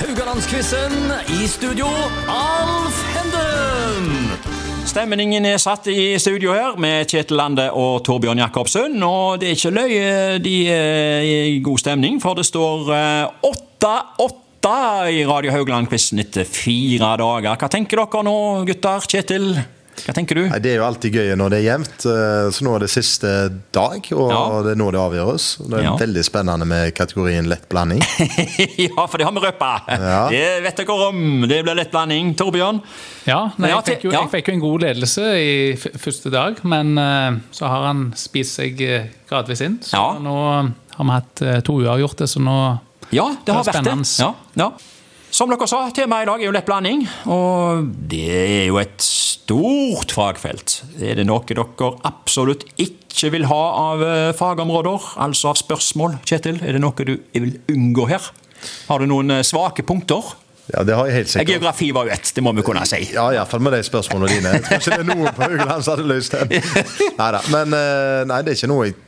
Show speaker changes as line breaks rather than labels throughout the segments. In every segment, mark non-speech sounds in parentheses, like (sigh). Rogalandsquizen i studio, Alf Henden!
Stemningen er satt i studio her med Kjetil Lande og Torbjørn Jacobsen. Og det er ikke løye, de er i god stemning, for det står eh, 8-8 i Radio Haugland-quizen etter fire dager. Hva tenker dere nå, gutter? Kjetil, hva tenker du?
Nei, Det er jo alltid gøy når det er jevnt. eh, Så nå er det siste dag, og
Ja.
det er nå det avgjøres. Og Det er
Ja.
veldig spennende med kategorien lett blanding.
(laughs) ja, for det har vi røpa.
Ja.
Det vet dere om. Det blir lett blanding. Torbjørn?
Ja, nei,
Ja,
jeg, fikk jo,
ja.
jeg fikk jo en god ledelse i f første dag, men eh, så har han spist seg eh, gradvis inn. Så
Ja.
nå har vi hatt eh, to uavgjorte, så nå
Ja, det har
Det er
vært det.
spennende.
Ja, ja. Som dere sa, temaet i dag er jo lett blanding, og det er jo et stort fagfelt. Er det noe dere absolutt ikke vil ha av eh, fagområder, altså av spørsmål, Kjetil? Er det noe du vil unngå her? Har du noen eh, svake punkter?
Ja, det har jeg helt sikkert.
Geografi var jo ett, det må vi kunne si.
Ja, iallfall med de spørsmålene dine. Jeg tror ikke det er noen på Haugaland som hadde løst den. Neida, Men eh, nei, det er ikke noe jeg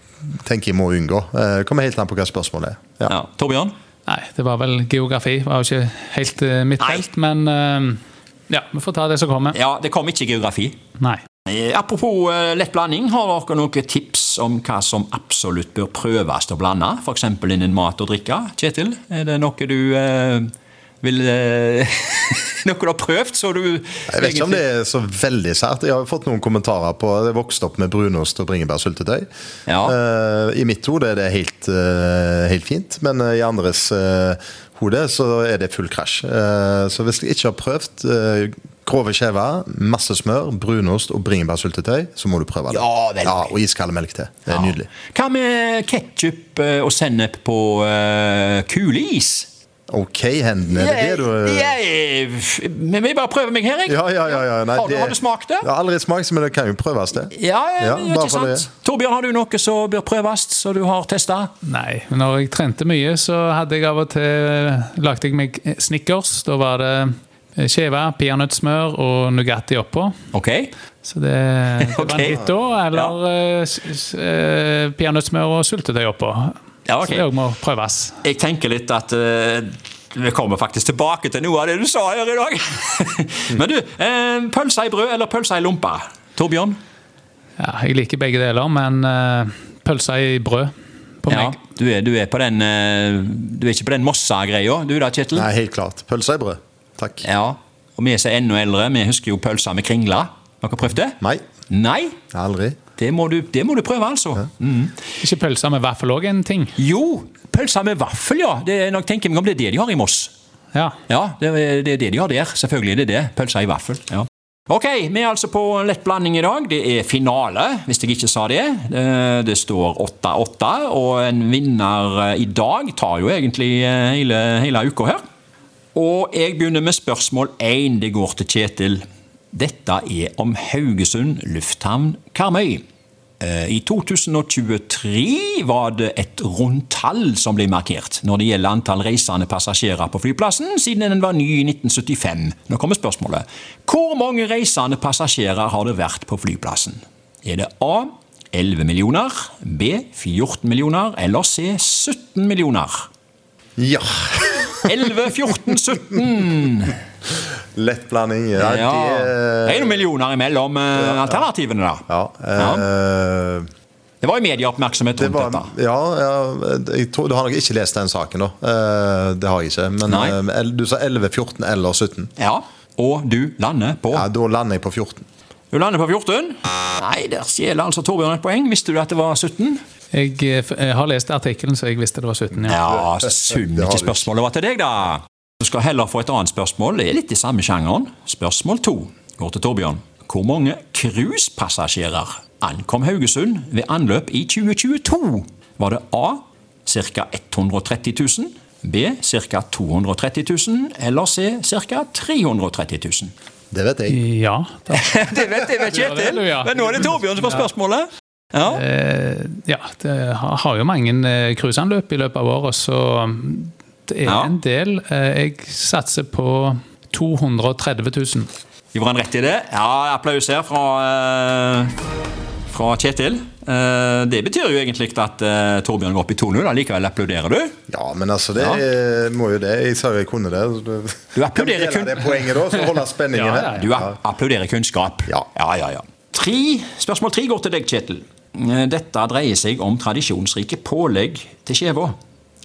tenker jeg må unngå. Eh, Det kommer helt an på hva spørsmålet er. Ja.
Ja. Torbjørn?
Nei, det var vel geografi. Var jo ikke helt eh, mitt
Nei.
felt, men eh, ja, vi får ta det som kommer.
Ja, det kom ikke geografi.
Nei.
Eh, Apropos eh, lett blanding, har dere noen tips om hva som absolutt bør prøves å blande? F.eks. innen mat og drikke? Kjetil, er det noe du eh, vil eh, (laughs) Noe du har prøvd, så du
Jeg vet ikke om det er så veldig sært. Jeg har jo fått noen kommentarer på Jeg vokste opp med brunost og bringebærsyltetøy.
Ja.
Eh, I mitt hode er det helt, eh, helt fint, men eh, i andres eh, hode så er det full krasj. Eh, så hvis jeg ikke har prøvd eh, grove skjever, masse smør, brunost og bringebærsyltetøy, så må du prøve det.
Ja, veldig.
og iskald melk til. Det er nydelig.
Hva med ketsjup og sennep på eh, kuleis?
Ok, hendene, er det det du eh,
Jeg, jeg, men jeg bare prøver meg her, jeg.
Ja, ja, ja. ja. Nei,
Har du- har du smakt det?
Jeg har aldri smakt, men det kan jo prøves, det.
Ja, ja,
Ja,
men det er
bare
ikke
for det.
sant. Torbjørn, har du noe som bør prøves, som du har testa?
Nei, men når jeg trente mye, så hadde jeg av og til eh, lagde jeg meg snickers. Da var det skjeve, peanøttsmør og Nugatti oppå.
Ok?
Så det,
(laughs)
det var
Ok.
en hit da. Eller eh, s- s- eh, peanøttsmør og syltetøy oppå.
Ja, ok.
Så det òg må prøves.
Jeg tenker litt at eh, vi kommer faktisk tilbake til noe av det du sa her i dag. (laughs) Men du, uh, pølse i brød eller pølse i lompe? Torbjørn?
Ja, jeg liker begge deler, men uh, pølse i brød på
Ja,
meg.
du er, du er på den eh, Du er ikke på den Mossa-greia, du da, Kjetil?
Nei, helt klart. Pølse i brød. Takk.
Ja, Og vi som er enda eldre, vi husker jo pølser med kringler. Dere har prøvd det?
Nei,
Nei?
aldri.
Det må du, det må du prøve, altså. Mm.
Ikke pølse med vaffel òg en ting.
Jo, pølser med vaffel, ja. Det, er- når jeg tenker meg om det er det de har i Moss.
Ja.
Ja, det er det, er det de har der. Selvfølgelig er det det. Pølser i vaffel. ja. Ok, vi er altså på lett blanding i dag. Det er finale, hvis jeg ikke sa det. Eh, Det står 8-8, og en vinner eh, i dag tar jo egentlig eh, hele, hele uka her. Og jeg begynner med spørsmål 1. Det går til Kjetil. Dette er om Haugesund lufthavn Karmøy. Eh, I 2023 var det et rundtall som ble markert når det gjelder antall reisende passasjerer på flyplassen, siden den var ny i 1975. Nå kommer spørsmålet. Hvor mange reisende passasjerer har det vært på flyplassen? Er det A 11 millioner, B 14 millioner eller C 17 millioner?
Ja. (laughs)
11, 14, 17.
Lett blanding. Ja,
Ja. Det
det
er noen millioner imellom eh, alternativene, da.
ja, eh,
Det var jo medieoppmerksomhet
det
rundt
var,
dette.
ja, ja jeg tror, Du har nok ikke lest den saken, da. Eh, det har jeg ikke. Men
Nei.
eh, el- du sa 11, 14 eller 17.
Ja, Og du lander på
Ja, Da lander jeg på 14.
Du lander på 14. Nei, der stjeler altså Torbjørn et poeng. Visste du at det var 17?
Jeg, eh, f- jeg har lest artikkelen, så jeg visste det var 17. Ja.
Ja, sunn
Det har
ikke
du.
spørsmålet var til deg, da. Du skal heller få et annet spørsmål. Det er litt i samme sjangeren. Spørsmål to går til Torbjørn. Hvor mange cruisepassasjerer ankom Haugesund ved anløp i 2022? Var det A ca. 130 000? B ca. 230 000? Eller C ca. 330 000?
Det vet jeg.
ja da.
Det vet jeg vet Kjetil,
Ja.
men nå er det Torbjørn som får spørsmålet. Ja.
Eh, ja, det har, har jo mange eh, cruiseanløp i løpet av året, så det er
Ja.
en del. Eh, jeg satser på 230 000.
Gjorde han rett i det? Ja, applaus her fra, eh, fra Kjetil. Eh, Det betyr jo egentlig at eh, Torbjørn går opp i 2-0. Allikevel applauderer du.
Ja, men altså, det er- må jo det. Jeg sa jo jeg kunne det. så det-
Du applauderer
Kan vi dele
kun-
det poenget, da, så holder spenningen
Ja,
her.
ja, ja.
Du app- applauderer kunnskap.
Ja.
ja, ja. ja. Tre, spørsmål tre går til deg, Kjetil. Eh, Dette dreier seg om tradisjonsrike pålegg til skiva.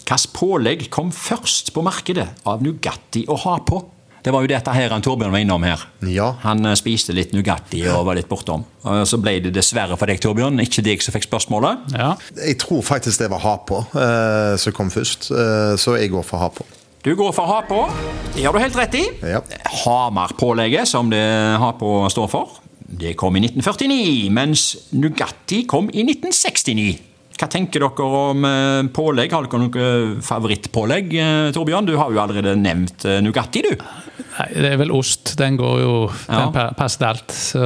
Hvilket pålegg kom først på markedet av Nugatti å ha på? Det var jo dette her han Torbjørn var innom her.
Ja.
Han eh, spiste litt Nugatti og var litt bortom. Og Så ble det dessverre for deg, Torbjørn, ikke deg som fikk spørsmålet.
Ja.
Jeg tror faktisk det var ha på eh, som kom først, eh, så jeg går for ha på.
Du går for ha på. Det gjør du helt rett i.
Ja.
Hamar-pålegget, som det ha på står for, det kom i 1949, mens Nugatti kom i 1969. Hva tenker dere om eh, pålegg? Har dere noe favorittpålegg, eh, Torbjørn? Du har jo allerede nevnt eh, Nugatti, du.
Nei, det er vel ost. Den går jo
Ja.
Den pa- passer til alt. Så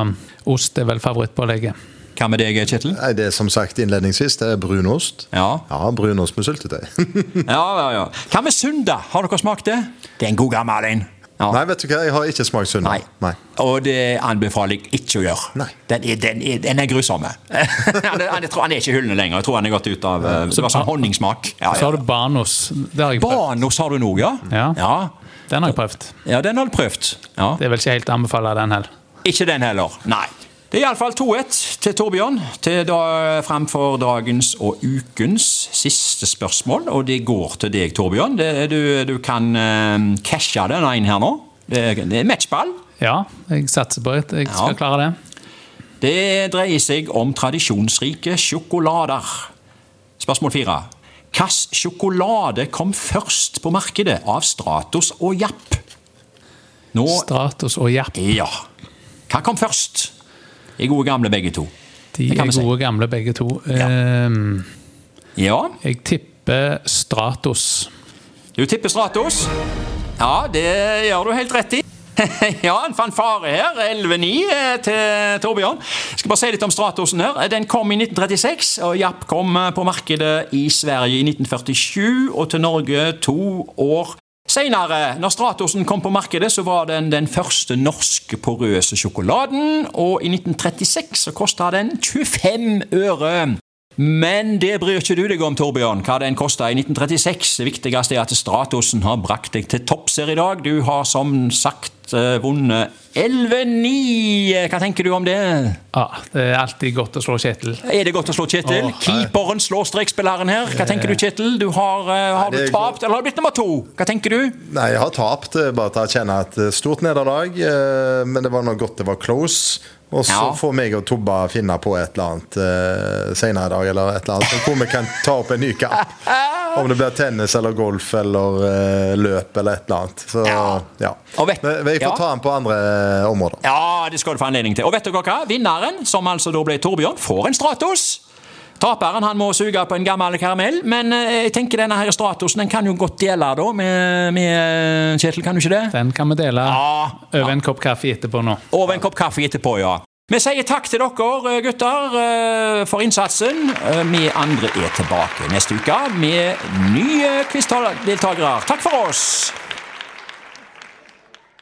um, ost er vel favorittpålegget.
Hva med deg, Kjetil?
Nei, det er som sagt innledningsvis, det er brunost.
Ja.
Ja, brunost med syltetøy.
ja, ja, ja. Hva med Sunda? Har dere smakt det? Det er en god gammel en. Ja.
Nei, vet du hva, jeg har ikke smakt sunn.
Nei. Og det anbefaler jeg ikke å gjøre.
Nei.
Den er, den er, den er (laughs) grusom. jeg tror han er ikke i hyllene lenger. Jeg tror han er gått ut av eh, Det var sånn honningsmak. Ja,
Så
ja.
har du Banos. Det har jeg prøvd.
Banos har du nå, ja?
Ja.
ja.
Den har jeg prøvd.
Ja, den har du prøvd. Ja.
Det er vel ikke helt å anbefale den heller.
Ikke den heller. Nei. Det er iallfall 2-1 til Torbjørn til da, fremfor dagens og ukens siste spørsmål. Og det går til deg, Torbjørn. Det, du, du kan eh, cashe den inn her nå. Det, det er matchball.
Ja, jeg satser på at jeg skal
Ja.
klare det.
Det dreier seg om tradisjonsrike sjokolader. Spørsmål fire. Hvilken sjokolade kom først på markedet av Stratos og Japp? Nå
Stratos og Japp.
Ja. Hva kom først? De gode gamle, begge to.
De
Det
er
kan vi si.
gode gamle, begge to.
Ja.
Ehm,
Ja,
Jeg tipper Stratos.
du tipper Stratos. Ja, det gjør du helt rett i. (laughs) ja, en fanfare her. 11-9 eh, til Torbjørn. Skal bare si litt om Stratosen her. Eh, Den kom i 1936, og Japp kom eh, på markedet i Sverige i 1947, og til Norge to år Senere, når Stratosen kom på markedet, så var den den første norske porøse sjokoladen, og i 1936 så kosta den 25 øre. Men det bryr ikke du deg om, Torbjørn, hva den kosta i 1936. Det viktigste er at Stratosen har brakt deg til topps her i dag. Du har som sagt eh, vunnet 11-9. Hva tenker du om det?
Ja, Ah, det er alltid godt å slå Kjetil.
Er det godt å slå Kjetil?
Åh, nei.
Keeperen slår strekspilleren her. Hva tenker du, Kjetil? Du har, eh, har
Nei,
du
det er godt.
tapt, eller har du blitt nummer to? Hva tenker du?
Nei, jeg har tapt. eh, Bare til å kjenne et eh, stort nederlag. eh, Men det var noe godt det var close. Og så
Ja.
får meg og Tobba finne på et eller annet eh, senere i dag, eller et eller annet, så hvor vi kan ta opp en ny
(laughs)
kamp. Om det blir tennis eller golf eller eh, løp eller et eller annet. Så,
Ja.
ja.
Og vet-
Men vi
ja.
får ta den på andre eh, områder.
Ja, det skal du få anledning til. Og vet dere hva? Vinneren, som altså da ble Torbjørn, får en Stratos. Taperen han må suge på en gammel karamell, men eh, jeg tenker denne her Stratosen den kan jo godt dele da med, med Kjetil, kan du ikke det?
Den kan vi dele
Ja.
over en kopp kaffe etterpå nå.
Over en kopp kaffe etterpå, ja. Vi sier takk til dere gutter eh, for innsatsen. Eh, Vi andre er tilbake neste uke med nye quizdeltakere. Takk for oss!